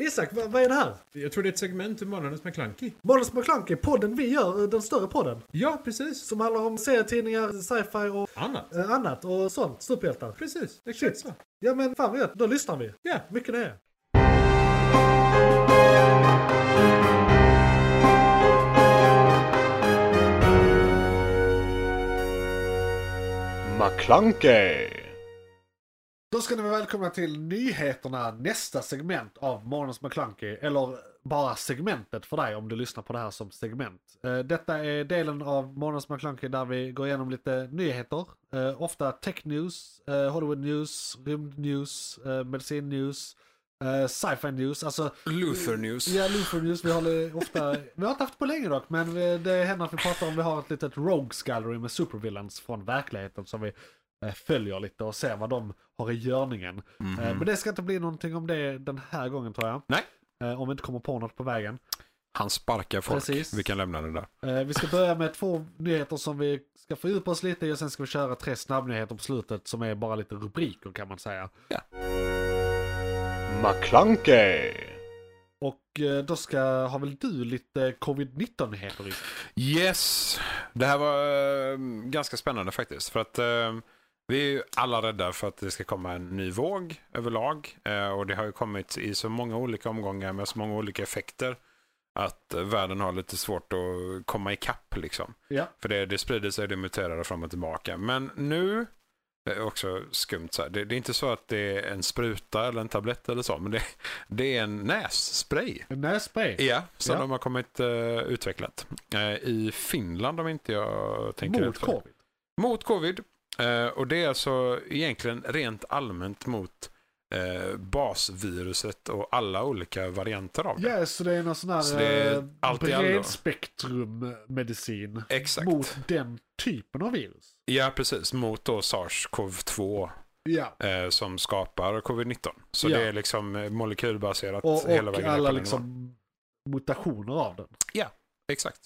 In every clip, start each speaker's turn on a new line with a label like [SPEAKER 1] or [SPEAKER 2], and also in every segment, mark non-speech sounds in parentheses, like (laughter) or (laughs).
[SPEAKER 1] Isak, vad, vad är det här?
[SPEAKER 2] Jag tror det är ett segment ur Månadens McKlunky.
[SPEAKER 1] Månadens McKlunky, podden vi gör, eh, den större podden.
[SPEAKER 2] Ja, precis.
[SPEAKER 1] Som handlar om serietidningar, sci-fi och
[SPEAKER 2] Annat.
[SPEAKER 1] eh, annat och sånt. Superhjältar.
[SPEAKER 2] Precis, exakt så.
[SPEAKER 1] Ja men fan vad gött, då lyssnar vi.
[SPEAKER 2] Ja,
[SPEAKER 1] Mycket nöje.
[SPEAKER 3] McClunkey!
[SPEAKER 1] Då ska ni vara välkomna till nyheterna, nästa segment av Månens McKlunky. Eller bara segmentet för dig om du lyssnar på det här som segment. Eh, Detta är delen av Månens McKlunky där vi går igenom lite nyheter. Eh, Ofta tech news, eh, Hollywood news, rymd news, eh, medicin news, eh, sci-fi news. Alltså
[SPEAKER 4] Luther News.
[SPEAKER 1] Ja, Luther News. Vi har ofta, vi har inte haft på länge dock, men vi- det händer att vi pratar om, vi har ett litet Rogues Gallery med supervillains från verkligheten som vi eh, följer lite och ser vad de har i görningen. Eh, Men det ska inte bli någonting om det den här gången tror jag.
[SPEAKER 4] Mhm. Nej.
[SPEAKER 1] Eh, Om vi inte kommer på något på vägen.
[SPEAKER 4] Han sparkar folk.
[SPEAKER 1] Precis.
[SPEAKER 4] Vi kan lämna det där.
[SPEAKER 1] Eh, Vi ska börja med två nyheter som vi ska fördjupa oss lite i och sen ska vi köra tre snabbnyheter på slutet som är bara lite rubriker kan man säga.
[SPEAKER 3] McClunkey!
[SPEAKER 1] Och eh, då ska, har väl du lite covid-19-nyheter i
[SPEAKER 4] Yes! Det här var eh, ganska spännande faktiskt. För att eh, vi är ju alla rädda för att det ska komma en ny våg överlag. Eh, och det har ju kommit i så många olika omgångar med så många olika effekter. Att eh, världen har lite svårt att komma ikapp liksom.
[SPEAKER 1] Ja.
[SPEAKER 4] För det, det sprider sig, det muterar fram och tillbaka. Men nu, det är också skumt så här. Det, det är inte så att det är en spruta eller en tablett eller så. Men det, det är en nässpray.
[SPEAKER 1] Nässpray.
[SPEAKER 4] Ja, så
[SPEAKER 1] Ja.
[SPEAKER 4] de har kommit eh, utvecklat. Eh, I Finland om inte jag tänker
[SPEAKER 1] Mot
[SPEAKER 4] rätt fel.
[SPEAKER 1] covid.
[SPEAKER 4] Mot covid. Eh, och det är alltså egentligen rent allmänt mot eh, basviruset och alla olika varianter av det.
[SPEAKER 1] Ja, så det är någon sån
[SPEAKER 4] Så det
[SPEAKER 1] här
[SPEAKER 4] är
[SPEAKER 1] eh,
[SPEAKER 4] allt i allo.
[SPEAKER 1] bredspektrummedicin
[SPEAKER 4] Exakt.
[SPEAKER 1] mot den typen av virus.
[SPEAKER 4] Ja, precis. Mot då SARS-CoV-2
[SPEAKER 1] Ja.
[SPEAKER 4] eh, som skapar covid-19. Så
[SPEAKER 1] Ja.
[SPEAKER 4] det är liksom eh, molekylbaserat
[SPEAKER 1] Och,
[SPEAKER 4] hela
[SPEAKER 1] och
[SPEAKER 4] vägen ner på
[SPEAKER 1] alla
[SPEAKER 4] den nivån.
[SPEAKER 1] liksom mutationer av den.
[SPEAKER 4] Exakt.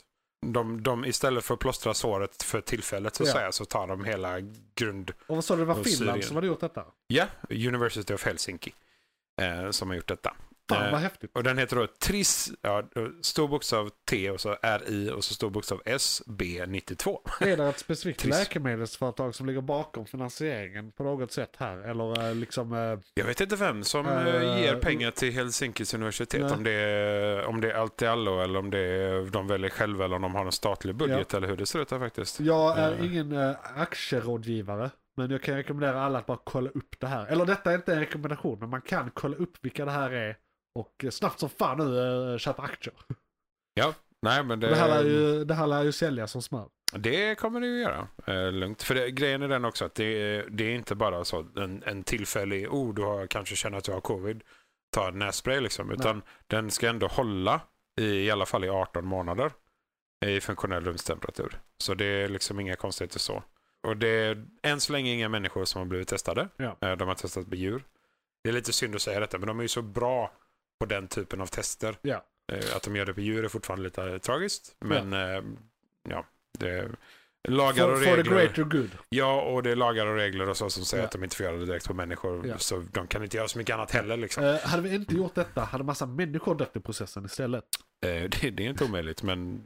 [SPEAKER 4] De, de, istället för att plåstra såret för tillfället så, att
[SPEAKER 1] Ja.
[SPEAKER 4] säga, så tar de hela grund...
[SPEAKER 1] Och vad sa du, det var
[SPEAKER 4] Och
[SPEAKER 1] Finland
[SPEAKER 4] Syrien.
[SPEAKER 1] som hade gjort detta?
[SPEAKER 4] Ja, University of Helsinki eh, som har gjort detta.
[SPEAKER 1] Fan
[SPEAKER 4] Eh,
[SPEAKER 1] vad häftigt.
[SPEAKER 4] och den heter då TRIS, ja, stor bokstav T och så RI och så stor bokstav S, B92.
[SPEAKER 1] Är
[SPEAKER 4] (laughs)
[SPEAKER 1] det ett specifikt
[SPEAKER 4] Trist.
[SPEAKER 1] läkemedelsföretag som ligger bakom finansieringen på något sätt här? Eller eh, liksom... eh,
[SPEAKER 4] Jag vet inte vem som
[SPEAKER 1] Eh,
[SPEAKER 4] eh, ger pengar till Helsinkis universitet.
[SPEAKER 1] nej.
[SPEAKER 4] Om det, är, om det är allt i allo eller om det är, de väljer själva eller om de har en statlig budget eller hur det ser ut där faktiskt.
[SPEAKER 1] Jag är
[SPEAKER 4] Eh.
[SPEAKER 1] ingen eh, aktierådgivare. Men jag kan rekommendera alla att bara kolla upp det här. Eller detta är inte en rekommendation, men man kan kolla upp vilka det här är. Och eh, snabbt som fan nu eh, köpa aktier.
[SPEAKER 4] Nej, men det,
[SPEAKER 1] Det här lär ju,
[SPEAKER 4] Ehm.
[SPEAKER 1] det här lär ju sälja som smör.
[SPEAKER 4] Det kommer det ju göra. Eh, lugnt. För det, grejen är den också att det, det är inte bara så en, en tillfällig, oh du har, kanske känner att du har covid, ta en nässpray liksom. Utan den ska ändå hålla i, i alla fall i 18 månader i funktionell rumstemperatur. Så det är liksom inga konstigheter så. Och det är än så länge inga människor som har blivit testade.
[SPEAKER 1] Ja.
[SPEAKER 4] Eh, De har testat på djur. Det är lite synd att säga detta, men de är ju så bra på den typen av tester.
[SPEAKER 1] Ja.
[SPEAKER 4] Eh, Att de gör det på djur är fortfarande lite eh, tragiskt. Men ja, ja det lagar
[SPEAKER 1] For,
[SPEAKER 4] och
[SPEAKER 1] for the
[SPEAKER 4] regler.
[SPEAKER 1] greater good.
[SPEAKER 4] Ja, och det är lagar och regler och så som säger
[SPEAKER 1] Ja.
[SPEAKER 4] att de inte får göra det direkt på människor.
[SPEAKER 1] Ja.
[SPEAKER 4] Så de kan inte göra så mycket annat heller. Liksom.
[SPEAKER 1] Eh, hade vi inte gjort detta hade massa människor dött i processen istället.
[SPEAKER 4] Eh, (laughs) det, det är inte
[SPEAKER 1] (clears throat)
[SPEAKER 4] omöjligt, men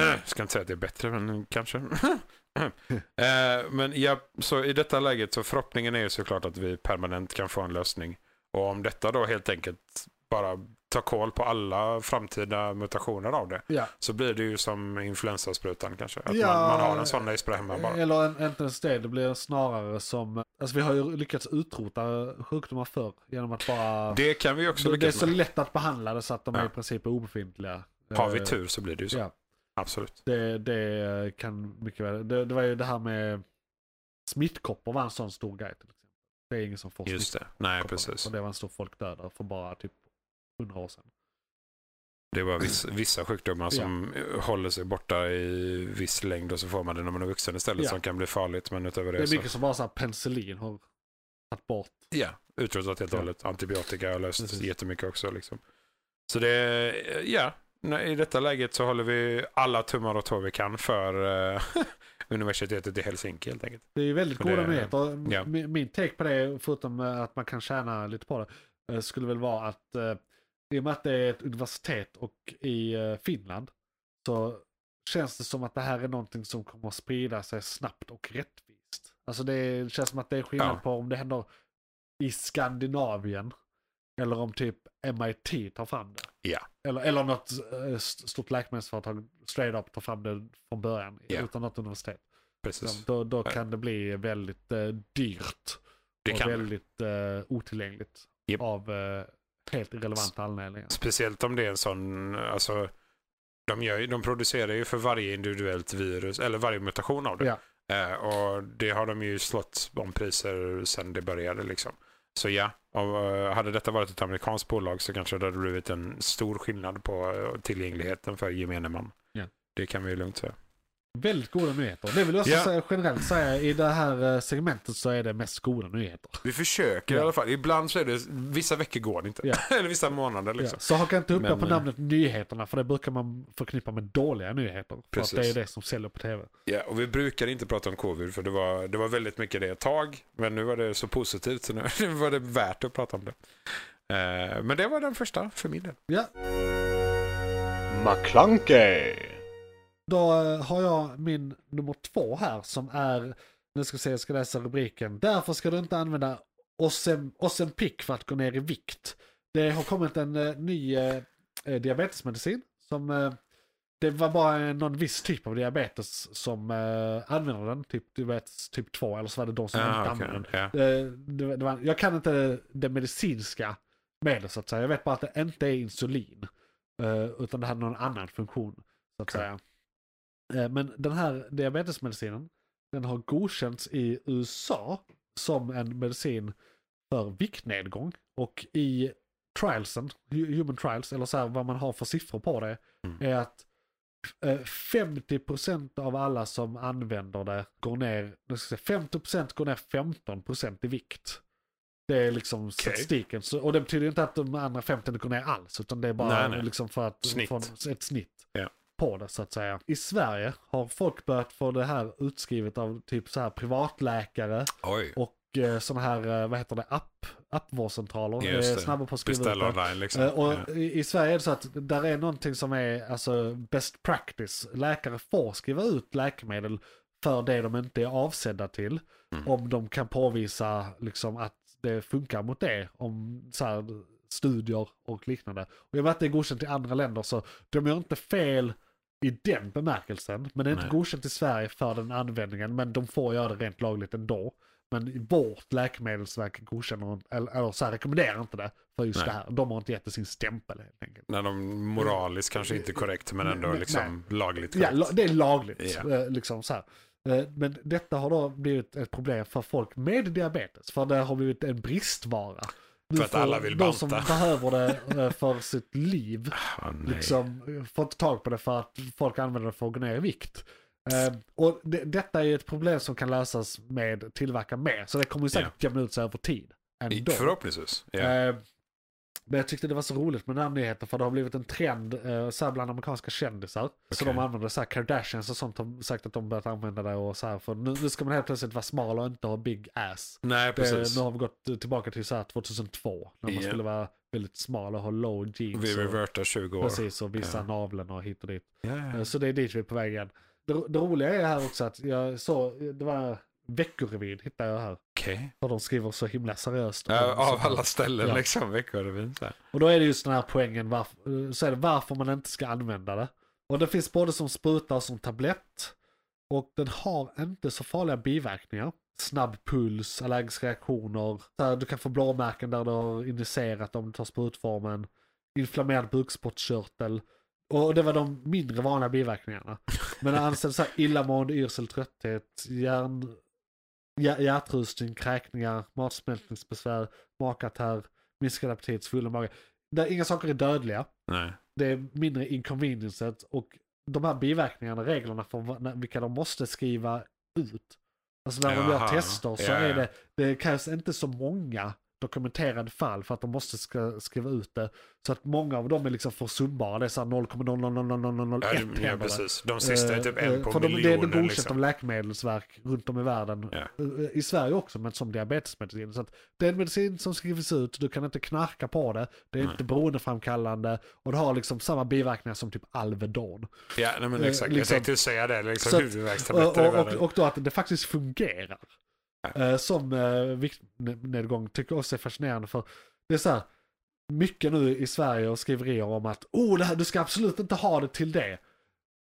[SPEAKER 4] eh, ska inte säga att det är bättre, men kanske. (clears throat) eh, men ja, så i detta läget så förhoppningen är ju såklart att vi permanent kan få en lösning. Och om detta då helt enkelt bara tar koll på alla framtida mutationer av det.
[SPEAKER 1] Ja.
[SPEAKER 4] Så blir det ju som influensasprutan kanske. Att
[SPEAKER 1] Ja.
[SPEAKER 4] man, man har en sån nejspray hemma bara.
[SPEAKER 1] Eller en, inte ens det, det blir snarare som... Alltså vi har ju lyckats utrota eh, sjukdomar förr genom att bara...
[SPEAKER 4] Det kan vi också
[SPEAKER 1] Det, det är
[SPEAKER 4] lyckas
[SPEAKER 1] så
[SPEAKER 4] med.
[SPEAKER 1] lätt att behandla det så att de är
[SPEAKER 4] Ja.
[SPEAKER 1] i princip obefintliga.
[SPEAKER 4] Har vi
[SPEAKER 1] Eh,
[SPEAKER 4] tur så blir det ju så.
[SPEAKER 1] Ja,
[SPEAKER 4] Absolut.
[SPEAKER 1] det, det kan mycket väl... Det, det var ju det här med smittkoppor var en sån stor grej till exempel. Det är ingen som får
[SPEAKER 4] Just det. Nej,
[SPEAKER 1] smittkoppor.
[SPEAKER 4] precis.
[SPEAKER 1] Och det var en stor folkdödare för bara typ 100 år sedan.
[SPEAKER 4] Det var viss, vissa sjukdomar som håller sig borta i viss längd och så får man det när man är vuxen istället
[SPEAKER 1] Ja.
[SPEAKER 4] som kan bli farligt. Men utöver det,
[SPEAKER 1] Det är
[SPEAKER 4] så
[SPEAKER 1] mycket som bara så här penicillin har tagit bort.
[SPEAKER 4] ja, utrotat helt och
[SPEAKER 1] Ja.
[SPEAKER 4] hållet. Antibiotika har löst
[SPEAKER 1] Precis.
[SPEAKER 4] jättemycket också. Liksom. Så det är, ja, nej, i detta läget så håller vi alla tummar och tår vi kan för eh, (laughs) universitetet i Helsinki helt enkelt.
[SPEAKER 1] Det är ju väldigt
[SPEAKER 4] Och det-
[SPEAKER 1] goda nyheter. M-
[SPEAKER 4] ja.
[SPEAKER 1] Min min take på det, förutom eh, att man kan tjäna lite på det, eh, skulle väl vara att eh, i och med att det är ett universitet och i eh, Finland så känns det som att det här är någonting som kommer att sprida sig snabbt och rättvist. Alltså det känns som att det är skillnad
[SPEAKER 4] Ja.
[SPEAKER 1] på om det händer i Skandinavien eller om typ MIT tar fram det.
[SPEAKER 4] Ja.
[SPEAKER 1] Eller, eller något eh, st- stort läkemedelsföretag straight up tar fram det från början
[SPEAKER 4] Ja.
[SPEAKER 1] utan något universitet.
[SPEAKER 4] Precis.
[SPEAKER 1] Då, då
[SPEAKER 4] Ja.
[SPEAKER 1] kan det bli väldigt eh, dyrt
[SPEAKER 4] Det
[SPEAKER 1] och
[SPEAKER 4] kan det.
[SPEAKER 1] väldigt eh, otillgängligt
[SPEAKER 4] Japp.
[SPEAKER 1] av eh, helt irrelevanta anledningar.
[SPEAKER 4] Speciellt om det är en sån, alltså, de, gör, ju- de producerar ju för varje individuellt virus, eller varje mutation av det.
[SPEAKER 1] Ja.
[SPEAKER 4] Eh, och det har de ju slått om priser sedan det började liksom. Så ja, om, eh, hade detta varit ett amerikanskt bolag så kanske det hade blivit en stor skillnad på eh, tillgängligheten för gemene man.
[SPEAKER 1] Ja.
[SPEAKER 4] Det kan vi ju lugnt säga.
[SPEAKER 1] Väldigt goda nyheter. Det vill jag också
[SPEAKER 4] Ja.
[SPEAKER 1] säga, generellt säga, i det här eh, segmentet så är det mest goda nyheter.
[SPEAKER 4] Vi försöker
[SPEAKER 1] Ja.
[SPEAKER 4] i alla fall. Ibland så är det, vissa veckor går det inte.
[SPEAKER 1] Ja.
[SPEAKER 4] (laughs) eller vissa månader liksom.
[SPEAKER 1] Ja. Så haka inte upp
[SPEAKER 4] Men,
[SPEAKER 1] er på
[SPEAKER 4] eh,
[SPEAKER 1] namnet nyheterna, för det brukar man förknippa med dåliga nyheter. För
[SPEAKER 4] Precis.
[SPEAKER 1] att det är det som säljer på tv.
[SPEAKER 4] Ja, och vi brukar inte prata om covid för det var, det var väldigt mycket det ett tag. Men nu var det så positivt så nu (laughs) nu var det värt att prata om det. Eh, men det var den första för min del.
[SPEAKER 1] Ja,
[SPEAKER 3] McClunkey,
[SPEAKER 1] Då eh, har jag min nummer två här som är, nu ska vi se, jag ska läsa rubriken. Därför ska du inte använda Ozem- Ozempic för att gå ner i vikt. Det har kommit en eh, ny eh, eh, diabetesmedicin som eh, det var bara eh, någon viss typ av diabetes som eh, använder den, typ diabetes typ 2 eller så var det de som inte
[SPEAKER 4] Ah, okej.
[SPEAKER 1] använde den.
[SPEAKER 4] ja.
[SPEAKER 1] Eh, Det, var- det var, jag kan inte det medicinska med det så att säga. Jag vet bara att det inte är insulin. eh, Utan det hade någon annan funktion. Så att
[SPEAKER 4] Okej.
[SPEAKER 1] säga. Eh, Men den här diabetesmedicinen, den har godkänts i USA som en medicin för viktnedgång. Och i trialsen, hu- human trials, eller så här vad man har för siffror på det,
[SPEAKER 4] Mm.
[SPEAKER 1] är att eh, 50% av alla som använder det går ner, nu ska jag säga, 50% går ner 15% i vikt. Det är liksom statistiken. Så, och det betyder ju inte att de andra 50 går ner alls, utan det är bara
[SPEAKER 4] Nej, nej.
[SPEAKER 1] Liksom för att
[SPEAKER 4] Snitt.
[SPEAKER 1] få en- ett snitt
[SPEAKER 4] Ja.
[SPEAKER 1] på det så att säga. I Sverige har folk börjat få det här utskrivet av typ så här privatläkare
[SPEAKER 4] Oj,
[SPEAKER 1] och eh, sådana här, eh, vad heter det, app, appvårdcentraler.
[SPEAKER 4] Just
[SPEAKER 1] Eh,
[SPEAKER 4] det.
[SPEAKER 1] Snabba på att skriva ut
[SPEAKER 4] beställ
[SPEAKER 1] det.
[SPEAKER 4] online liksom.
[SPEAKER 1] Eh, Och
[SPEAKER 4] Ja.
[SPEAKER 1] i, I Sverige är det så att där är någonting som är alltså best practice. Läkare får skriva ut läkemedel för det de inte är avsedda till.
[SPEAKER 4] Mm.
[SPEAKER 1] Om de kan påvisa liksom, att det funkar mot det. Om så här, studier och liknande. Och jag vet att det är godkänt i andra länder så de gör inte fel i den bemärkelsen. Men det är inte
[SPEAKER 4] Nej.
[SPEAKER 1] godkänt i Sverige för den användningen. Men de får göra det rent lagligt ändå. Men vårt läkemedelsverk godkänner inte- eller, eller så här, rekommenderar inte det för just
[SPEAKER 4] Nej.
[SPEAKER 1] det här. De har inte gett det sin stämpel helt enkelt.
[SPEAKER 4] När de moraliskt kanske inte är korrekt men ändå
[SPEAKER 1] Nej,
[SPEAKER 4] liksom lagligt
[SPEAKER 1] Ja,
[SPEAKER 4] korrekt.
[SPEAKER 1] la- det är lagligt.
[SPEAKER 4] Ja.
[SPEAKER 1] eh, Liksom så här. Eh, Men detta har då blivit ett problem för folk med diabetes. För det har blivit en bristvara. Nu
[SPEAKER 4] För att
[SPEAKER 1] får
[SPEAKER 4] alla vill
[SPEAKER 1] De som
[SPEAKER 4] banta.
[SPEAKER 1] behöver det
[SPEAKER 4] (laughs)
[SPEAKER 1] eh, för sitt liv
[SPEAKER 4] Ah, nej.
[SPEAKER 1] liksom, får inte tag på det för att folk använder det för att gå ner i vikt. Eh, och det, detta är ett problem som kan lösas med tillverka mer. Så det kommer ju säkert jämna ut sig över tid. Ändå.
[SPEAKER 4] Förhoppningsvis. Ja.
[SPEAKER 1] Eh, Men jag tyckte det var så roligt med den här nyheten för det har blivit en trend eh, så här bland amerikanska kändisar. Så
[SPEAKER 4] Okej.
[SPEAKER 1] de använder så här Kardashians och sånt har sagt att de börjat använda det och så här. För nu, nu ska man helt plötsligt vara smal och inte ha big ass.
[SPEAKER 4] nej,
[SPEAKER 1] Det,
[SPEAKER 4] precis.
[SPEAKER 1] nu har vi gått eh, tillbaka till så här 2002 när man
[SPEAKER 4] Ja.
[SPEAKER 1] skulle vara väldigt smal och ha low jeans.
[SPEAKER 4] Vi
[SPEAKER 1] och-
[SPEAKER 4] revertar 20 år.
[SPEAKER 1] Precis, och vissa
[SPEAKER 4] Ja.
[SPEAKER 1] naveln och hit och dit. Eh,
[SPEAKER 4] Ja, ja.
[SPEAKER 1] Så det är dit vi är på väg igen. Det, ro- det roliga är här också att jag såg, det var Veckorevyn hittade jag här.
[SPEAKER 4] Okej.
[SPEAKER 1] För de skriver så himla seriöst. om
[SPEAKER 4] Ja,
[SPEAKER 1] sånt
[SPEAKER 4] Av
[SPEAKER 1] här.
[SPEAKER 4] alla ställen
[SPEAKER 1] Ja.
[SPEAKER 4] liksom. Veckorevyn. så här.
[SPEAKER 1] Och då är det just den här poängen varför, så är det varför man inte ska använda det. Och det finns både som spruta och som tablett. Och den har inte så farliga biverkningar. Snabb puls, allergiska reaktioner. Så här, du kan få blåmärken där du har injicerat om du tar sprutformen. Inflammerad bukspottkörtel. Och det var de mindre vanliga biverkningarna. Men det anses så här illamående, yrsel, trötthet, hjärn, hjär- hjärtrusning, kräkningar, matsmältningsbesvär, magkatarr, minskad aptit, svullen mage. Där inga saker är dödliga.
[SPEAKER 4] Nej.
[SPEAKER 1] Det är mindre inconveniences och de här biverkningarna, reglerna för vad- när- vilka de måste skriva ut. Alltså när de gör
[SPEAKER 4] Jaha,
[SPEAKER 1] tester så
[SPEAKER 4] ja,
[SPEAKER 1] är
[SPEAKER 4] ja.
[SPEAKER 1] det, det krävs inte så många dokumenterad fall för att de måste ska, skriva ut det. Så att många av dem är liksom försumbara. Det är såhär 0,00001
[SPEAKER 4] Ja, det- ja,
[SPEAKER 1] händer det.
[SPEAKER 4] precis. De sista är typ
[SPEAKER 1] Eh,
[SPEAKER 4] en
[SPEAKER 1] för
[SPEAKER 4] på
[SPEAKER 1] de, Det är ändå
[SPEAKER 4] miljonen.
[SPEAKER 1] godkänt av
[SPEAKER 4] liksom.
[SPEAKER 1] läkemedelsverk runt om i världen.
[SPEAKER 4] Ja.
[SPEAKER 1] Eh, I Sverige också, men som diabetesmedicin. Så att det är en medicin som skrivs ut, du kan inte knarka på det, det är inte beroendeframkallande och det har liksom samma biverkningar som typ Alvedon.
[SPEAKER 4] Ja, nej, men
[SPEAKER 1] eh,
[SPEAKER 4] exakt.
[SPEAKER 1] liksom-
[SPEAKER 4] Jag tänkte säga det.
[SPEAKER 1] Så
[SPEAKER 4] Liksom,
[SPEAKER 1] att-
[SPEAKER 4] Huvudvärkstabletter i
[SPEAKER 1] Och, och,
[SPEAKER 4] världen.
[SPEAKER 1] och då att det faktiskt fungerar. Eh, Som eh, viktnedgång tycker jag också är fascinerande för det är så här, mycket nu i Sverige och skriverier om att oh, det här, du ska absolut inte ha det till det.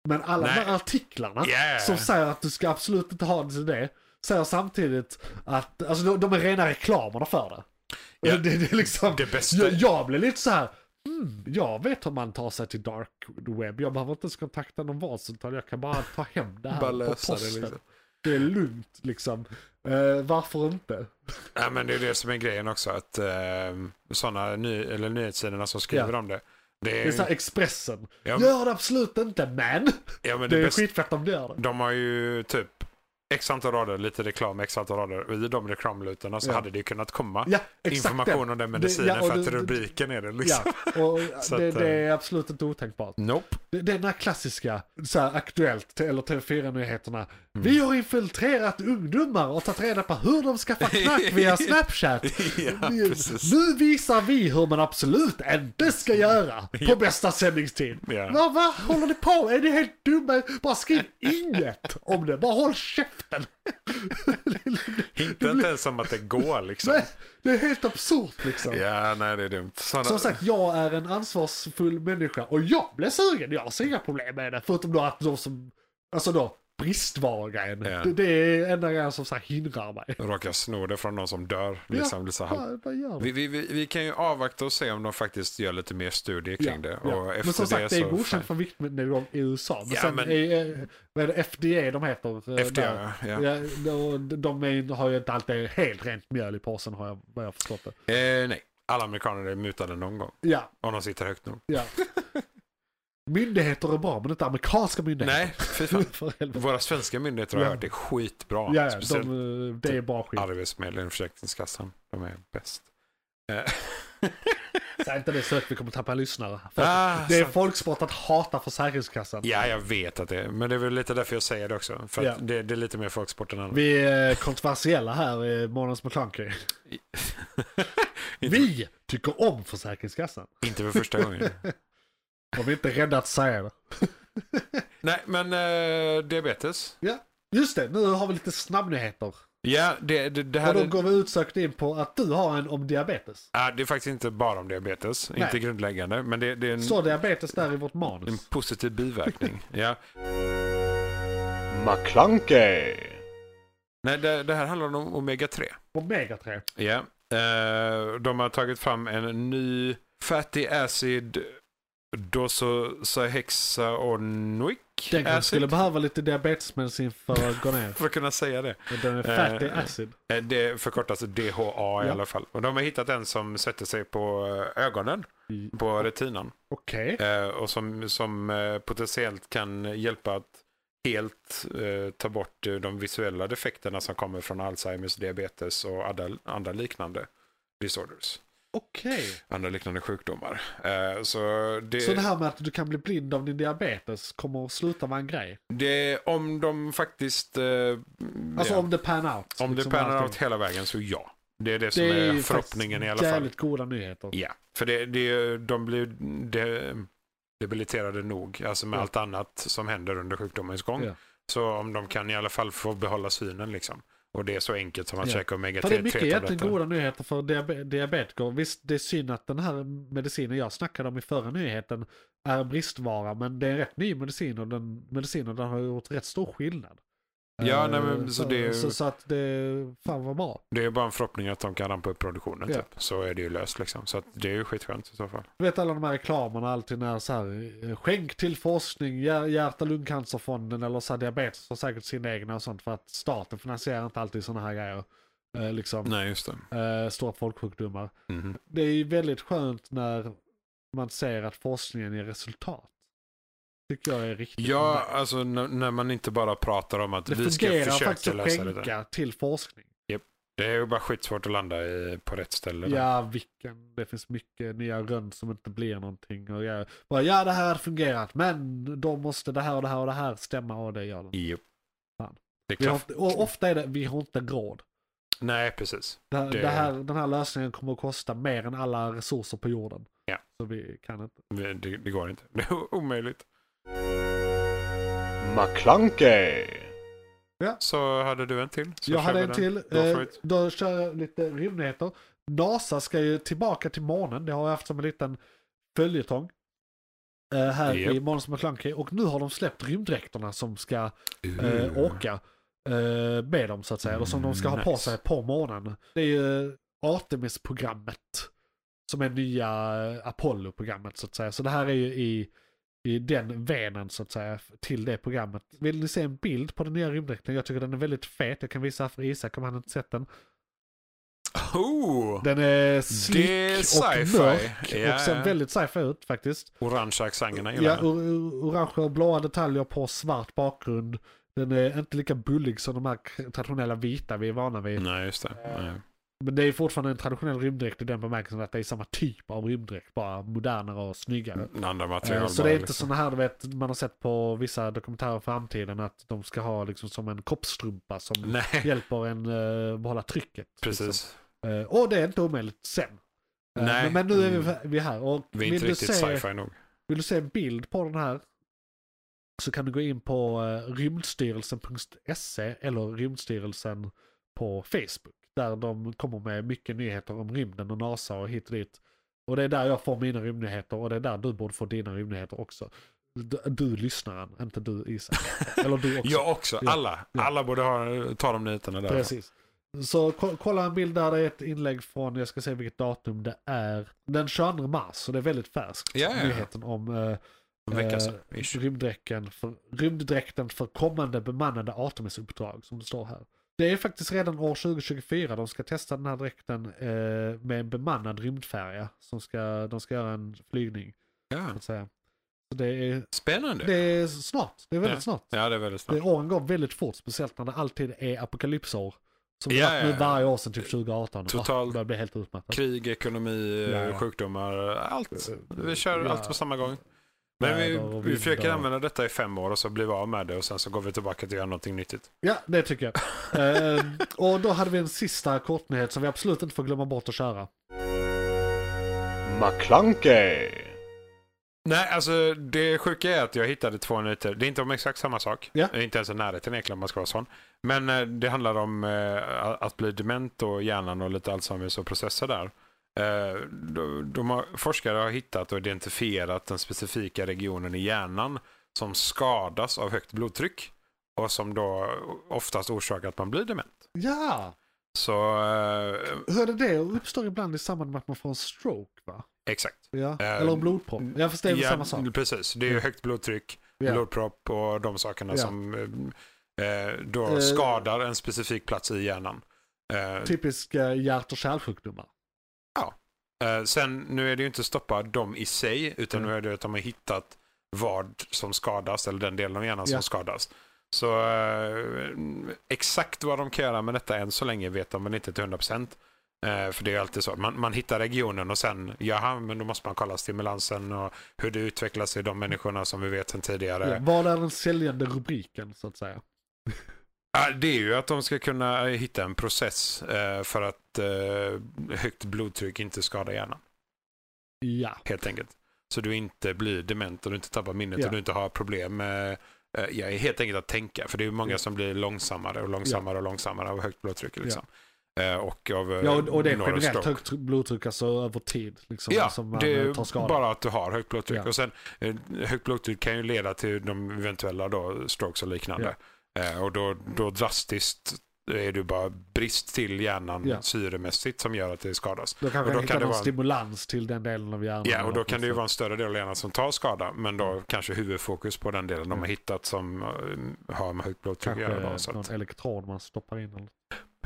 [SPEAKER 1] Men alla de
[SPEAKER 4] Nej.
[SPEAKER 1] här artiklarna
[SPEAKER 4] Yeah.
[SPEAKER 1] som säger att du ska absolut inte ha det till det, säger samtidigt att, alltså de, de är rena reklamerna för det.
[SPEAKER 4] Ja.
[SPEAKER 1] Det, det är liksom,
[SPEAKER 4] Det bästa-
[SPEAKER 1] jag, jag blir lite så här, mm, jag vet hur man tar sig till dark web, jag behöver inte ens kontakta någon varcentral, jag kan bara ta hem det här
[SPEAKER 4] Bara
[SPEAKER 1] på
[SPEAKER 4] lösa det,
[SPEAKER 1] posten.
[SPEAKER 4] liksom.
[SPEAKER 1] Det är lugnt liksom. Eh, varför inte?
[SPEAKER 4] Ja, men det är det som är grejen också. Att eh, sådana ny, eller nyhetssidorna som skriver
[SPEAKER 1] Ja.
[SPEAKER 4] om det. Det
[SPEAKER 1] Det är
[SPEAKER 4] är,
[SPEAKER 1] så här Expressen.
[SPEAKER 4] Eh. Ja, men-
[SPEAKER 1] Gör det absolut inte, men
[SPEAKER 4] ja, men
[SPEAKER 1] det
[SPEAKER 4] det
[SPEAKER 1] är
[SPEAKER 4] bästa-
[SPEAKER 1] skitfett om du gör
[SPEAKER 4] (laughs)
[SPEAKER 1] det.
[SPEAKER 4] De har ju typ x antal rader, lite reklam, x antal rader. Och I de reklamlutorna så
[SPEAKER 1] Ja.
[SPEAKER 4] hade det ju kunnat komma
[SPEAKER 1] Ja, exakt
[SPEAKER 4] information
[SPEAKER 1] det.
[SPEAKER 4] om den
[SPEAKER 1] Det-
[SPEAKER 4] medicinen
[SPEAKER 1] ja, och
[SPEAKER 4] för att
[SPEAKER 1] det- det-
[SPEAKER 4] rubriken är det liksom.
[SPEAKER 1] (laughs) Ja, och
[SPEAKER 4] Så
[SPEAKER 1] det,
[SPEAKER 4] att, eh,
[SPEAKER 1] det är absolut inte otänkbart.
[SPEAKER 4] Nope.
[SPEAKER 1] Det, det är den här klassiska, så här, Aktuellt eller TV4-nyheterna.
[SPEAKER 4] Mm.
[SPEAKER 1] Vi har infiltrerat ungdomar och tagit reda på hur de skaffar knack
[SPEAKER 4] (laughs)
[SPEAKER 1] via Snapchat.
[SPEAKER 4] Ja,
[SPEAKER 1] Vi-
[SPEAKER 4] precis.
[SPEAKER 1] nu visar vi hur man absolut inte ska göra på bästa sändningstid.
[SPEAKER 4] Ja.
[SPEAKER 1] Vad va, håller ni på Är ni helt dumma? Bara skriv inget om det, bara håll käften. (laughs)
[SPEAKER 4] Inte inte ens om att det går liksom.
[SPEAKER 1] Nej, det är helt absurt liksom.
[SPEAKER 4] Ja, nej det är dumt. Såna...
[SPEAKER 1] Som sagt, jag är en ansvarsfull människa och jag blev sugen. Jag ser inga problem med det. Förutom då att de som, alltså då, bristvaran.
[SPEAKER 4] Ja.
[SPEAKER 1] Det, det är enda grejen som så här hindrar mig.
[SPEAKER 4] Råkar sno det från någon som dör. Liksom, blir så här...
[SPEAKER 1] vad, vad gör
[SPEAKER 4] vi,
[SPEAKER 1] du?
[SPEAKER 4] vi, vi, vi kan ju avvakta och se om de faktiskt gör lite mer studier kring det.
[SPEAKER 1] ja.
[SPEAKER 4] Och efter
[SPEAKER 1] men som sagt, det, är
[SPEAKER 4] så...
[SPEAKER 1] godkänt för viktnedgång i USA. Men
[SPEAKER 4] Ja,
[SPEAKER 1] sen
[SPEAKER 4] men-
[SPEAKER 1] är, eh, vad är det, FDA de heter? eh,
[SPEAKER 4] FDA,
[SPEAKER 1] där.
[SPEAKER 4] ja.
[SPEAKER 1] och de, de är, har ju inte alltid helt rent mjöl i påsen har jag, vad jag har förstått det.
[SPEAKER 4] Eh, nej, alla amerikaner är mutade någon gång.
[SPEAKER 1] Ja,
[SPEAKER 4] Om de sitter högt nog. (laughs)
[SPEAKER 1] ja. Myndigheter är bra, men inte amerikanska myndigheter.
[SPEAKER 4] Nej, fy fan.
[SPEAKER 1] (laughs) För helvete.
[SPEAKER 4] Våra svenska myndigheter har
[SPEAKER 1] Ja.
[SPEAKER 4] jag hört är skitbra.
[SPEAKER 1] Ja, ja,
[SPEAKER 4] Speciellt
[SPEAKER 1] de, eh, det är bara skit.
[SPEAKER 4] Arbetsförmedlingen och Försäkringskassan. De är bäst. Eh, (laughs)
[SPEAKER 1] Säg inte det så högt, vi kommer tappa lyssnare. Folk,
[SPEAKER 4] Ah,
[SPEAKER 1] det är
[SPEAKER 4] sant.
[SPEAKER 1] folksport att hata Försäkringskassan.
[SPEAKER 4] Ja, jag vet att det är. Men det är väl lite därför jag säger det också. För att
[SPEAKER 1] Ja.
[SPEAKER 4] det, det är lite mer folksport än annat.
[SPEAKER 1] Vi är kontroversiella här i Månadens McClunky.
[SPEAKER 4] inte,
[SPEAKER 1] (laughs) Vi tycker om Försäkringskassan.
[SPEAKER 4] inte för första
[SPEAKER 1] (laughs)
[SPEAKER 4] gången.
[SPEAKER 1] Och vi är inte rädda att säga det.
[SPEAKER 4] Nej, men eh, diabetes.
[SPEAKER 1] Just det, nu har vi lite snabbnyheter.
[SPEAKER 4] Ja, det, det, det
[SPEAKER 1] Och
[SPEAKER 4] här
[SPEAKER 1] då
[SPEAKER 4] är,
[SPEAKER 1] går vi utsökt in på att du har en om diabetes.
[SPEAKER 4] Ja, det är faktiskt inte bara om diabetes.
[SPEAKER 1] Nej.
[SPEAKER 4] Inte grundläggande. Men det, det är en,
[SPEAKER 1] Står diabetes där i vårt
[SPEAKER 4] en
[SPEAKER 1] manus? (laughs)
[SPEAKER 4] positiv biverkning. ja.
[SPEAKER 3] McClunkey.
[SPEAKER 4] Nej, det, det här handlar om omega-3.
[SPEAKER 1] Omega-3.
[SPEAKER 4] Ja. Eh, de har tagit fram en ny Fatty Acid Docosahexaonic
[SPEAKER 1] Den kanske
[SPEAKER 4] acid.
[SPEAKER 1] skulle behöva lite diabetesmedicin för att gå ner.
[SPEAKER 4] (laughs) För att kunna säga det.
[SPEAKER 1] Den är fatty
[SPEAKER 4] Eh,
[SPEAKER 1] acid.
[SPEAKER 4] Eh, Det förkortas DHA i
[SPEAKER 1] Ja.
[SPEAKER 4] alla fall. Och de har hittat en som sätter sig på eh, ögonen,
[SPEAKER 1] Mm.
[SPEAKER 4] på retinan.
[SPEAKER 1] Okej.
[SPEAKER 4] Eh, och som, som eh, potentiellt kan hjälpa att helt eh, ta bort eh, de visuella defekterna som kommer från Alzheimers, diabetes och andra, andra liknande disorders.
[SPEAKER 1] Okej.
[SPEAKER 4] andra liknande sjukdomar. Eh, så det,
[SPEAKER 1] Så det här med att du kan bli blind av din diabetes kommer att sluta vara en grej?
[SPEAKER 4] det, om de faktiskt... Eh,
[SPEAKER 1] Alltså
[SPEAKER 4] ja,
[SPEAKER 1] om det pan out.
[SPEAKER 4] om det
[SPEAKER 1] liksom,
[SPEAKER 4] pannar
[SPEAKER 1] allting.
[SPEAKER 4] out hela vägen så ja. Det är det, som
[SPEAKER 1] Det är
[SPEAKER 4] är
[SPEAKER 1] ju
[SPEAKER 4] förhoppningen i alla
[SPEAKER 1] faktiskt
[SPEAKER 4] fall.
[SPEAKER 1] jävligt goda nyheter.
[SPEAKER 4] Ja, för det, det, de blir de, debiliterade nog, alltså med
[SPEAKER 1] Ja.
[SPEAKER 4] allt annat som händer under sjukdomens gång.
[SPEAKER 1] Ja.
[SPEAKER 4] Så om de kan i alla fall få behålla synen liksom. Och det är så enkelt som att
[SPEAKER 1] Ja.
[SPEAKER 4] käka omega
[SPEAKER 1] För det är mycket egentligen
[SPEAKER 4] 3-tabletter.
[SPEAKER 1] goda nyheter för diabe- diabetiker. Visst, det är synd att den här medicinen jag snackade om i förra nyheten är en bristvara, men det är en rätt ny medicin och den medicinen den har gjort rätt stor skillnad.
[SPEAKER 4] Ja,
[SPEAKER 1] Eh,
[SPEAKER 4] nej, men, så det är ju-
[SPEAKER 1] så, så att det, fan vad bra.
[SPEAKER 4] Det är bara en förhoppning att de kan rampa upp produktionen.
[SPEAKER 1] Ja.
[SPEAKER 4] Typ. Så är det ju löst liksom. Så att det är ju skitskönt i så fall.
[SPEAKER 1] Du vet alla de här reklamerna alltid när så här, eh, skänk till forskning, hjär- hjärt-lungcancerfonden eller så här, diabetes har säkert sina egna och sånt för att staten finansierar inte alltid sådana här grejer. Eh, liksom
[SPEAKER 4] Nej, just det.
[SPEAKER 1] eh, stora folksjukdomar.
[SPEAKER 4] Mhm.
[SPEAKER 1] Det är ju väldigt skönt när man ser att forskningen ger resultat. Tycker jag är riktigt
[SPEAKER 4] Ja,
[SPEAKER 1] nice.
[SPEAKER 4] alltså n- när man inte bara pratar om att
[SPEAKER 1] det
[SPEAKER 4] vi ska
[SPEAKER 1] fungerar
[SPEAKER 4] försöka
[SPEAKER 1] faktiskt att
[SPEAKER 4] lösa det där.
[SPEAKER 1] skänka till forskning.
[SPEAKER 4] Japp. Det är ju bara skitsvårt att landa i, på rätt ställe. där.
[SPEAKER 1] Ja, vilken. Det finns mycket nya rön som inte blir någonting. Och jag, bara, ja, det här har fungerat, men då måste det här och det här och det här stämma och det gör det.
[SPEAKER 4] Jo.
[SPEAKER 1] Fan.
[SPEAKER 4] Det är
[SPEAKER 1] Vi har,
[SPEAKER 4] klart.
[SPEAKER 1] och ofta är det, vi har inte råd.
[SPEAKER 4] Nej, precis.
[SPEAKER 1] Det här,
[SPEAKER 4] Det-
[SPEAKER 1] det här, den här lösningen kommer att kosta mer än alla resurser på jorden.
[SPEAKER 4] Ja.
[SPEAKER 1] Så vi kan inte.
[SPEAKER 4] Det, det det går inte. (laughs) Det är omöjligt.
[SPEAKER 3] McClunkey,
[SPEAKER 4] Så hade du en till. Så
[SPEAKER 1] jag
[SPEAKER 4] kör
[SPEAKER 1] hade
[SPEAKER 4] vi
[SPEAKER 1] en
[SPEAKER 4] den.
[SPEAKER 1] till.
[SPEAKER 4] Go for
[SPEAKER 1] Eh,
[SPEAKER 4] it.
[SPEAKER 1] Då kör jag lite rymdnyheter. NASA ska ju tillbaka till månen. Det har jag haft som en liten följetong. Eh, här i
[SPEAKER 4] Japp.
[SPEAKER 1] Måns McClunky. Och nu har de släppt rymddräkterna som ska eh, åka eh, med dem så att säga. Eller som de ska ha på
[SPEAKER 4] Nice.
[SPEAKER 1] sig på månen. Det är ju eh, Artemis-programmet. Som är nya eh, Apollo-programmet så att säga. Så det här är ju i, i den venen så att säga till det programmet. Vill ni se en bild på den nya rymddräkten? Jag tycker den är väldigt fet. Jag kan visa här för Isak om han inte sett den.
[SPEAKER 4] Oh!
[SPEAKER 1] Den är slick
[SPEAKER 4] Det är
[SPEAKER 1] och
[SPEAKER 4] sci-fi.
[SPEAKER 1] mörk.
[SPEAKER 4] Ja,
[SPEAKER 1] och ser
[SPEAKER 4] ja.
[SPEAKER 1] väldigt sci-fi ut faktiskt.
[SPEAKER 4] Orangea accenten gillar
[SPEAKER 1] Ja,
[SPEAKER 4] jag.
[SPEAKER 1] or- or- orange och blåa detaljer på svart bakgrund. Den är inte lika bullig som de här k- traditionella vita vi är vana vid.
[SPEAKER 4] Nej, just det. Nej.
[SPEAKER 1] Men det är fortfarande en traditionell rymddräkt i den bemärkelsen att det är samma typ av rymddräkt, bara modernare och snyggare.
[SPEAKER 4] En andra
[SPEAKER 1] Eh,
[SPEAKER 4] Mm. material
[SPEAKER 1] Så
[SPEAKER 4] bara,
[SPEAKER 1] det är inte
[SPEAKER 4] liksom.
[SPEAKER 1] sådana här du vet, man har sett på vissa dokumentärer i framtiden att de ska ha liksom som en koppstrumpa som
[SPEAKER 4] (laughs) Nej,
[SPEAKER 1] hjälper en eh, behålla trycket. Liksom.
[SPEAKER 4] precis.
[SPEAKER 1] Eh, och det är inte omöjligt sen. Eh,
[SPEAKER 4] Nej. Mm.
[SPEAKER 1] Men, men nu är vi, vi är här. Och
[SPEAKER 4] Vi är
[SPEAKER 1] vill
[SPEAKER 4] inte
[SPEAKER 1] du
[SPEAKER 4] riktigt
[SPEAKER 1] se-
[SPEAKER 4] sci-fi nog.
[SPEAKER 1] vill du se en bild på den här så kan du gå in på eh, rymdstyrelsen.se E eller rymdstyrelsen på Facebook. Där de kommer med mycket nyheter om rymden och NASA och hit och dit. Och det är där jag får mina rymdnyheter och det är där du borde få dina rymdnyheter också. Du, du lyssnaren, inte du Isak. Eller du
[SPEAKER 4] (laughs)
[SPEAKER 1] också.
[SPEAKER 4] Jag också.
[SPEAKER 1] Ja.
[SPEAKER 4] Alla.
[SPEAKER 1] Ja.
[SPEAKER 4] Alla borde ha, ta de nyheterna där.
[SPEAKER 1] Precis. Så ko- kolla en bild där det är ett inlägg från, jag ska se vilket datum det är, den 22 mars. Så det är väldigt färskt.
[SPEAKER 4] Ja, ja, ja.
[SPEAKER 1] Nyheten om eh,
[SPEAKER 4] En vecka sedan.
[SPEAKER 1] Eh,
[SPEAKER 4] ish.
[SPEAKER 1] rymddräkten, för, rymddräkten för kommande bemannade Artemis-uppdrag som det står här. Det är faktiskt redan år 2024 de ska testa den här dräkten eh, med en bemannad rymdfärja. Som ska, de ska göra en flygning.
[SPEAKER 4] Ja.
[SPEAKER 1] Så, att säga. så det, är,
[SPEAKER 4] Spännande.
[SPEAKER 1] det är snart, det är väldigt snart.
[SPEAKER 4] Ja, det är väldigt
[SPEAKER 1] Det,
[SPEAKER 4] snabbt.
[SPEAKER 1] åren går väldigt fort, speciellt när det alltid är apokalypsår. Som det
[SPEAKER 4] Ja,
[SPEAKER 1] varit nu
[SPEAKER 4] ja, ja.
[SPEAKER 1] varje år sedan typ 2018.
[SPEAKER 4] Totalt-
[SPEAKER 1] Ah, börjar bli helt utmattat.
[SPEAKER 4] Krig, ekonomi,
[SPEAKER 1] Ja, ja.
[SPEAKER 4] sjukdomar, allt. Vi kör
[SPEAKER 1] Ja.
[SPEAKER 4] allt på samma gång. Men vi,
[SPEAKER 1] Väder och
[SPEAKER 4] vi försöker
[SPEAKER 1] vindar.
[SPEAKER 4] använda detta i fem år och så blir vi av med det och sen så går vi tillbaka till att göra någonting nyttigt.
[SPEAKER 1] Ja, det tycker jag. Ehm, och då hade vi en sista kortnyhet som vi absolut inte får glömma bort att köra.
[SPEAKER 3] McClunkey,
[SPEAKER 4] Nej, alltså det sjuka är att jag hittade två nyheter. Det är inte om exakt samma sak.
[SPEAKER 1] Ja.
[SPEAKER 4] Det är Inte ens i närheten egentligen om man ska vara sån. Men eh, det handlar om eh, att bli dement och hjärnan och lite Alzheimers och processer där. Eh, de, de har, forskare har hittat och identifierat den specifika regionen i hjärnan som skadas av högt blodtryck och som då oftast orsakar att man blir dement.
[SPEAKER 1] Ja,
[SPEAKER 4] Så eh,
[SPEAKER 1] hörde det uppstår ibland i samband med att man får en stroke va?
[SPEAKER 4] exakt.
[SPEAKER 1] Ja.
[SPEAKER 4] Eh,
[SPEAKER 1] Eller en blodpropp. Ja, fast det är väl
[SPEAKER 4] Ja,
[SPEAKER 1] samma sak. Mm.
[SPEAKER 4] Precis, det är ju högt blodtryck,
[SPEAKER 1] Ja.
[SPEAKER 4] blodpropp och de sakerna
[SPEAKER 1] Ja.
[SPEAKER 4] som eh, då
[SPEAKER 1] Eh.
[SPEAKER 4] skadar en specifik plats i hjärnan. Eh,
[SPEAKER 1] Typiska hjärt och kärlsjukdomar.
[SPEAKER 4] eh, sen, nu är det ju inte stoppa dem i sig, utan
[SPEAKER 1] Mm.
[SPEAKER 4] nu är det att de har hittat vad som skadas, eller den delen av hjärnan
[SPEAKER 1] Ja.
[SPEAKER 4] som skadas. Så eh, exakt vad de kan göra med detta än så länge vet de väl inte till 100%. Eh, för det är ju alltid så. Man, man hittar regionen och sen, jaha, men då måste man kolla stimulansen och hur det utvecklas i de människorna som vi vet sedan tidigare.
[SPEAKER 1] Ja. Vad är den säljande rubriken så att säga?
[SPEAKER 4] Ja, det är ju att de ska kunna eh, hitta en process eh, för att eh, högt blodtryck inte skadar hjärnan,
[SPEAKER 1] Ja,
[SPEAKER 4] helt enkelt. Så du inte blir dement och du inte tappar minnet
[SPEAKER 1] Ja.
[SPEAKER 4] och du inte har problem med eh, ja, helt enkelt att tänka. För det är ju många som blir långsammare och långsammare och långsammare av högt blodtryck. Liksom. Eh, och av eh,
[SPEAKER 1] ja och, och det är
[SPEAKER 4] några
[SPEAKER 1] generellt
[SPEAKER 4] stroke.
[SPEAKER 1] högt blodtryck alltså över tid. Liksom,
[SPEAKER 4] Ja,
[SPEAKER 1] som man
[SPEAKER 4] det är
[SPEAKER 1] eh,
[SPEAKER 4] ju
[SPEAKER 1] tar skada.
[SPEAKER 4] bara att du har högt blodtryck.
[SPEAKER 1] Ja.
[SPEAKER 4] Och sen, eh, högt blodtryck kan ju leda till de eventuella då, strokes och liknande. Eh, och då, då drastiskt är du bara brist till hjärnan
[SPEAKER 1] Ja.
[SPEAKER 4] syremässigt som gör att det skadas.
[SPEAKER 1] Då kanske
[SPEAKER 4] och
[SPEAKER 1] man
[SPEAKER 4] då
[SPEAKER 1] hittar
[SPEAKER 4] kan det
[SPEAKER 1] någon
[SPEAKER 4] vara en-
[SPEAKER 1] stimulans till den delen av hjärnan.
[SPEAKER 4] Ja, och då kan det ju
[SPEAKER 1] liksom.
[SPEAKER 4] vara en större del av hjärnan som tar skada, men
[SPEAKER 1] Mm.
[SPEAKER 4] då kanske huvudfokus på den delen de
[SPEAKER 1] Ja.
[SPEAKER 4] har hittat som eh, har med högt blodtryck att göra. Då,
[SPEAKER 1] Mm. Kanske
[SPEAKER 4] så
[SPEAKER 1] någon
[SPEAKER 4] att,
[SPEAKER 1] elektron man stoppar in. Eller...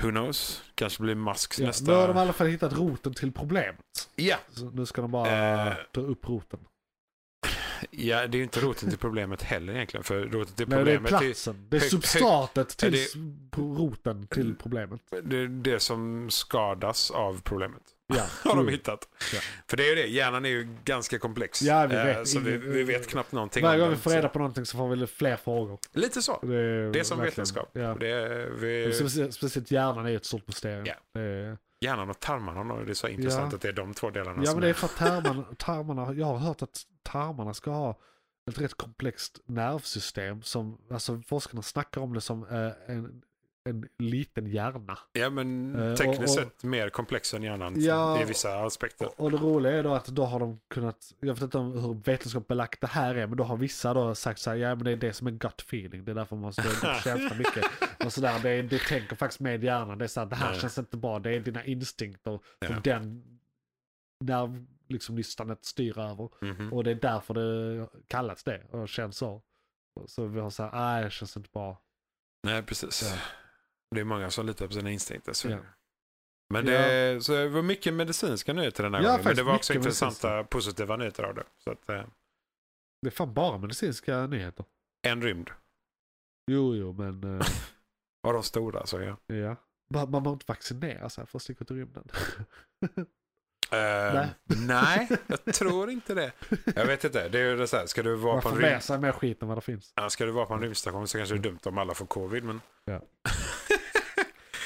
[SPEAKER 4] who knows? Kanske blir Musks
[SPEAKER 1] Ja,
[SPEAKER 4] nästa...
[SPEAKER 1] nu har de i alla fall hittat roten till problemet.
[SPEAKER 4] Ja.
[SPEAKER 1] Så nu ska de bara
[SPEAKER 4] Eh.
[SPEAKER 1] ta upp roten.
[SPEAKER 4] Ja, det är ju inte roten till problemet heller egentligen. För roten till
[SPEAKER 1] Nej, det är
[SPEAKER 4] problemet är,
[SPEAKER 1] platsen. Det är
[SPEAKER 4] hög- hög-
[SPEAKER 1] substratet
[SPEAKER 4] är
[SPEAKER 1] till
[SPEAKER 4] det-
[SPEAKER 1] s- på roten till problemet.
[SPEAKER 4] det, är det som skadas av problemet.
[SPEAKER 1] Ja,
[SPEAKER 4] (laughs) Har de
[SPEAKER 1] jo.
[SPEAKER 4] hittat.
[SPEAKER 1] Ja.
[SPEAKER 4] För det är ju det, hjärnan är ju ganska komplex.
[SPEAKER 1] Ja, vi
[SPEAKER 4] Eh,
[SPEAKER 1] vet
[SPEAKER 4] så vi,
[SPEAKER 1] ingen-
[SPEAKER 4] vi vet knappt någonting
[SPEAKER 1] Varje
[SPEAKER 4] om
[SPEAKER 1] gång vi
[SPEAKER 4] den,
[SPEAKER 1] får
[SPEAKER 4] så-
[SPEAKER 1] reda på någonting så får vi fler frågor.
[SPEAKER 4] Lite så.
[SPEAKER 1] Det är,
[SPEAKER 4] Det är som
[SPEAKER 1] verkligen-
[SPEAKER 4] vetenskap.
[SPEAKER 1] Ja.
[SPEAKER 4] Det är, vi,
[SPEAKER 1] Specie- Speciellt hjärnan är ett stort mysterium.
[SPEAKER 4] Ja.
[SPEAKER 1] Det är-
[SPEAKER 4] hjärnan och tarmarna, om det är så intressant
[SPEAKER 1] Ja.
[SPEAKER 4] att det är de två delarna
[SPEAKER 1] Ja
[SPEAKER 4] som
[SPEAKER 1] men det är för att tarmarna, (laughs) tarmarna, jag har hört att tarmarna ska ha ett rätt komplext nervsystem som, alltså forskarna snackar om det som eh, en, en liten hjärna.
[SPEAKER 4] Ja, men
[SPEAKER 1] Eh, och-
[SPEAKER 4] tekniskt
[SPEAKER 1] och-
[SPEAKER 4] sett mer komplex än hjärnan
[SPEAKER 1] Ja,
[SPEAKER 4] i vissa aspekter.
[SPEAKER 1] Och, och det roliga är då att då har de kunnat, jag vet inte om hur vetenskapligt belagt det här är, men då har vissa då sagt så här, ja men det är det som är gut feeling, det är därför man måste gå på känsla mycket. Och sådär, det, är- det tänker faktiskt med hjärnan, det är så här, det här
[SPEAKER 4] Nej.
[SPEAKER 1] känns inte bra, det är dina instinkter som
[SPEAKER 4] Ja.
[SPEAKER 1] den nerv, liksom nystanet styr över.
[SPEAKER 4] Mhm.
[SPEAKER 1] Och det är därför det kallats det och känns så. Så vi har så här, nej det känns inte bra.
[SPEAKER 4] Nej, precis.
[SPEAKER 1] Ja.
[SPEAKER 4] Det är många som litar på sina instinkter. Så.
[SPEAKER 1] Ja.
[SPEAKER 4] Men det, så det var mycket medicinska nyheter den här
[SPEAKER 1] Ja,
[SPEAKER 4] gången. Men det
[SPEAKER 1] faktiskt
[SPEAKER 4] var också
[SPEAKER 1] mycket
[SPEAKER 4] intressanta positiva nyheter av det. Så att, eh,
[SPEAKER 1] Det är fan bara medicinska nyheter.
[SPEAKER 4] en rymd.
[SPEAKER 1] Jo, jo, men eh,
[SPEAKER 4] Av de stora så ja.
[SPEAKER 1] ja. Man, man behöver inte vaccinera sig för att sticka ut i rymden.
[SPEAKER 4] Eh,
[SPEAKER 1] Nej.
[SPEAKER 4] nej, jag tror inte det. Jag vet inte. Det är ju det så här, ska du vara
[SPEAKER 1] Man
[SPEAKER 4] på en
[SPEAKER 1] får
[SPEAKER 4] rymd...
[SPEAKER 1] med sig mer skit än vad det finns.
[SPEAKER 4] Ja, Ska du vara på en rymdstation så kanske det är dumt om alla får covid. Men...
[SPEAKER 1] Ja.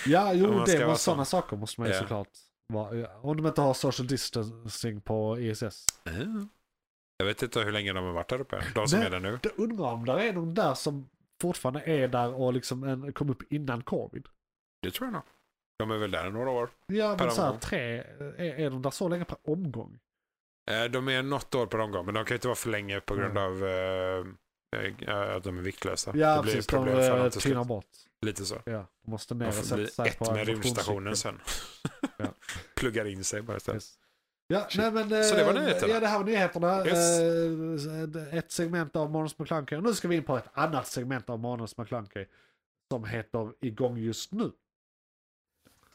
[SPEAKER 1] Ja, jo,
[SPEAKER 4] Om man ska
[SPEAKER 1] det var
[SPEAKER 4] vara
[SPEAKER 1] sådana
[SPEAKER 4] sån.
[SPEAKER 1] saker måste man ju
[SPEAKER 4] Ja.
[SPEAKER 1] såklart vara. ja. Om de inte har social distancing på ISS.
[SPEAKER 4] Eh, Jag vet inte hur länge de har varit där uppe. De som
[SPEAKER 1] Nej.
[SPEAKER 4] är där nu.
[SPEAKER 1] Jag undrar om där är någon där som fortfarande är där och liksom en, kom upp innan covid.
[SPEAKER 4] Det tror jag nog. De är väl där i några år.
[SPEAKER 1] Ja,
[SPEAKER 4] Per
[SPEAKER 1] men så här,
[SPEAKER 4] omgång.
[SPEAKER 1] tre, är, är de där så länge per omgång?
[SPEAKER 4] Eh, De är något år på omgång, men de kan ju inte vara för länge på grund
[SPEAKER 1] Nej.
[SPEAKER 4] av eh, eh, att de är viktlösa.
[SPEAKER 1] Ja,
[SPEAKER 4] det blir ju
[SPEAKER 1] precis.
[SPEAKER 4] problem
[SPEAKER 1] de
[SPEAKER 4] för
[SPEAKER 1] eh,
[SPEAKER 4] dem till slut.
[SPEAKER 1] tynar bort.
[SPEAKER 4] Lite så.
[SPEAKER 1] Ja, de måste ner
[SPEAKER 4] De
[SPEAKER 1] och
[SPEAKER 4] får bli
[SPEAKER 1] sätta sig
[SPEAKER 4] ett
[SPEAKER 1] på en
[SPEAKER 4] med rymdstationen
[SPEAKER 1] motionscykel.
[SPEAKER 4] sen. (laughs)
[SPEAKER 1] Ja.
[SPEAKER 4] Pluggar in sig bara istället.
[SPEAKER 1] Yes. Ja, nej, men, eh,
[SPEAKER 4] Så det var nyheterna.
[SPEAKER 1] Ja, det här var nyheterna.
[SPEAKER 4] Yes.
[SPEAKER 1] Eh, Ett segment av Månens McKlunky. Nu ska vi in på ett annat segment av Månens McKlunky. Som heter Igång just nu.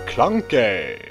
[SPEAKER 3] McClunkey!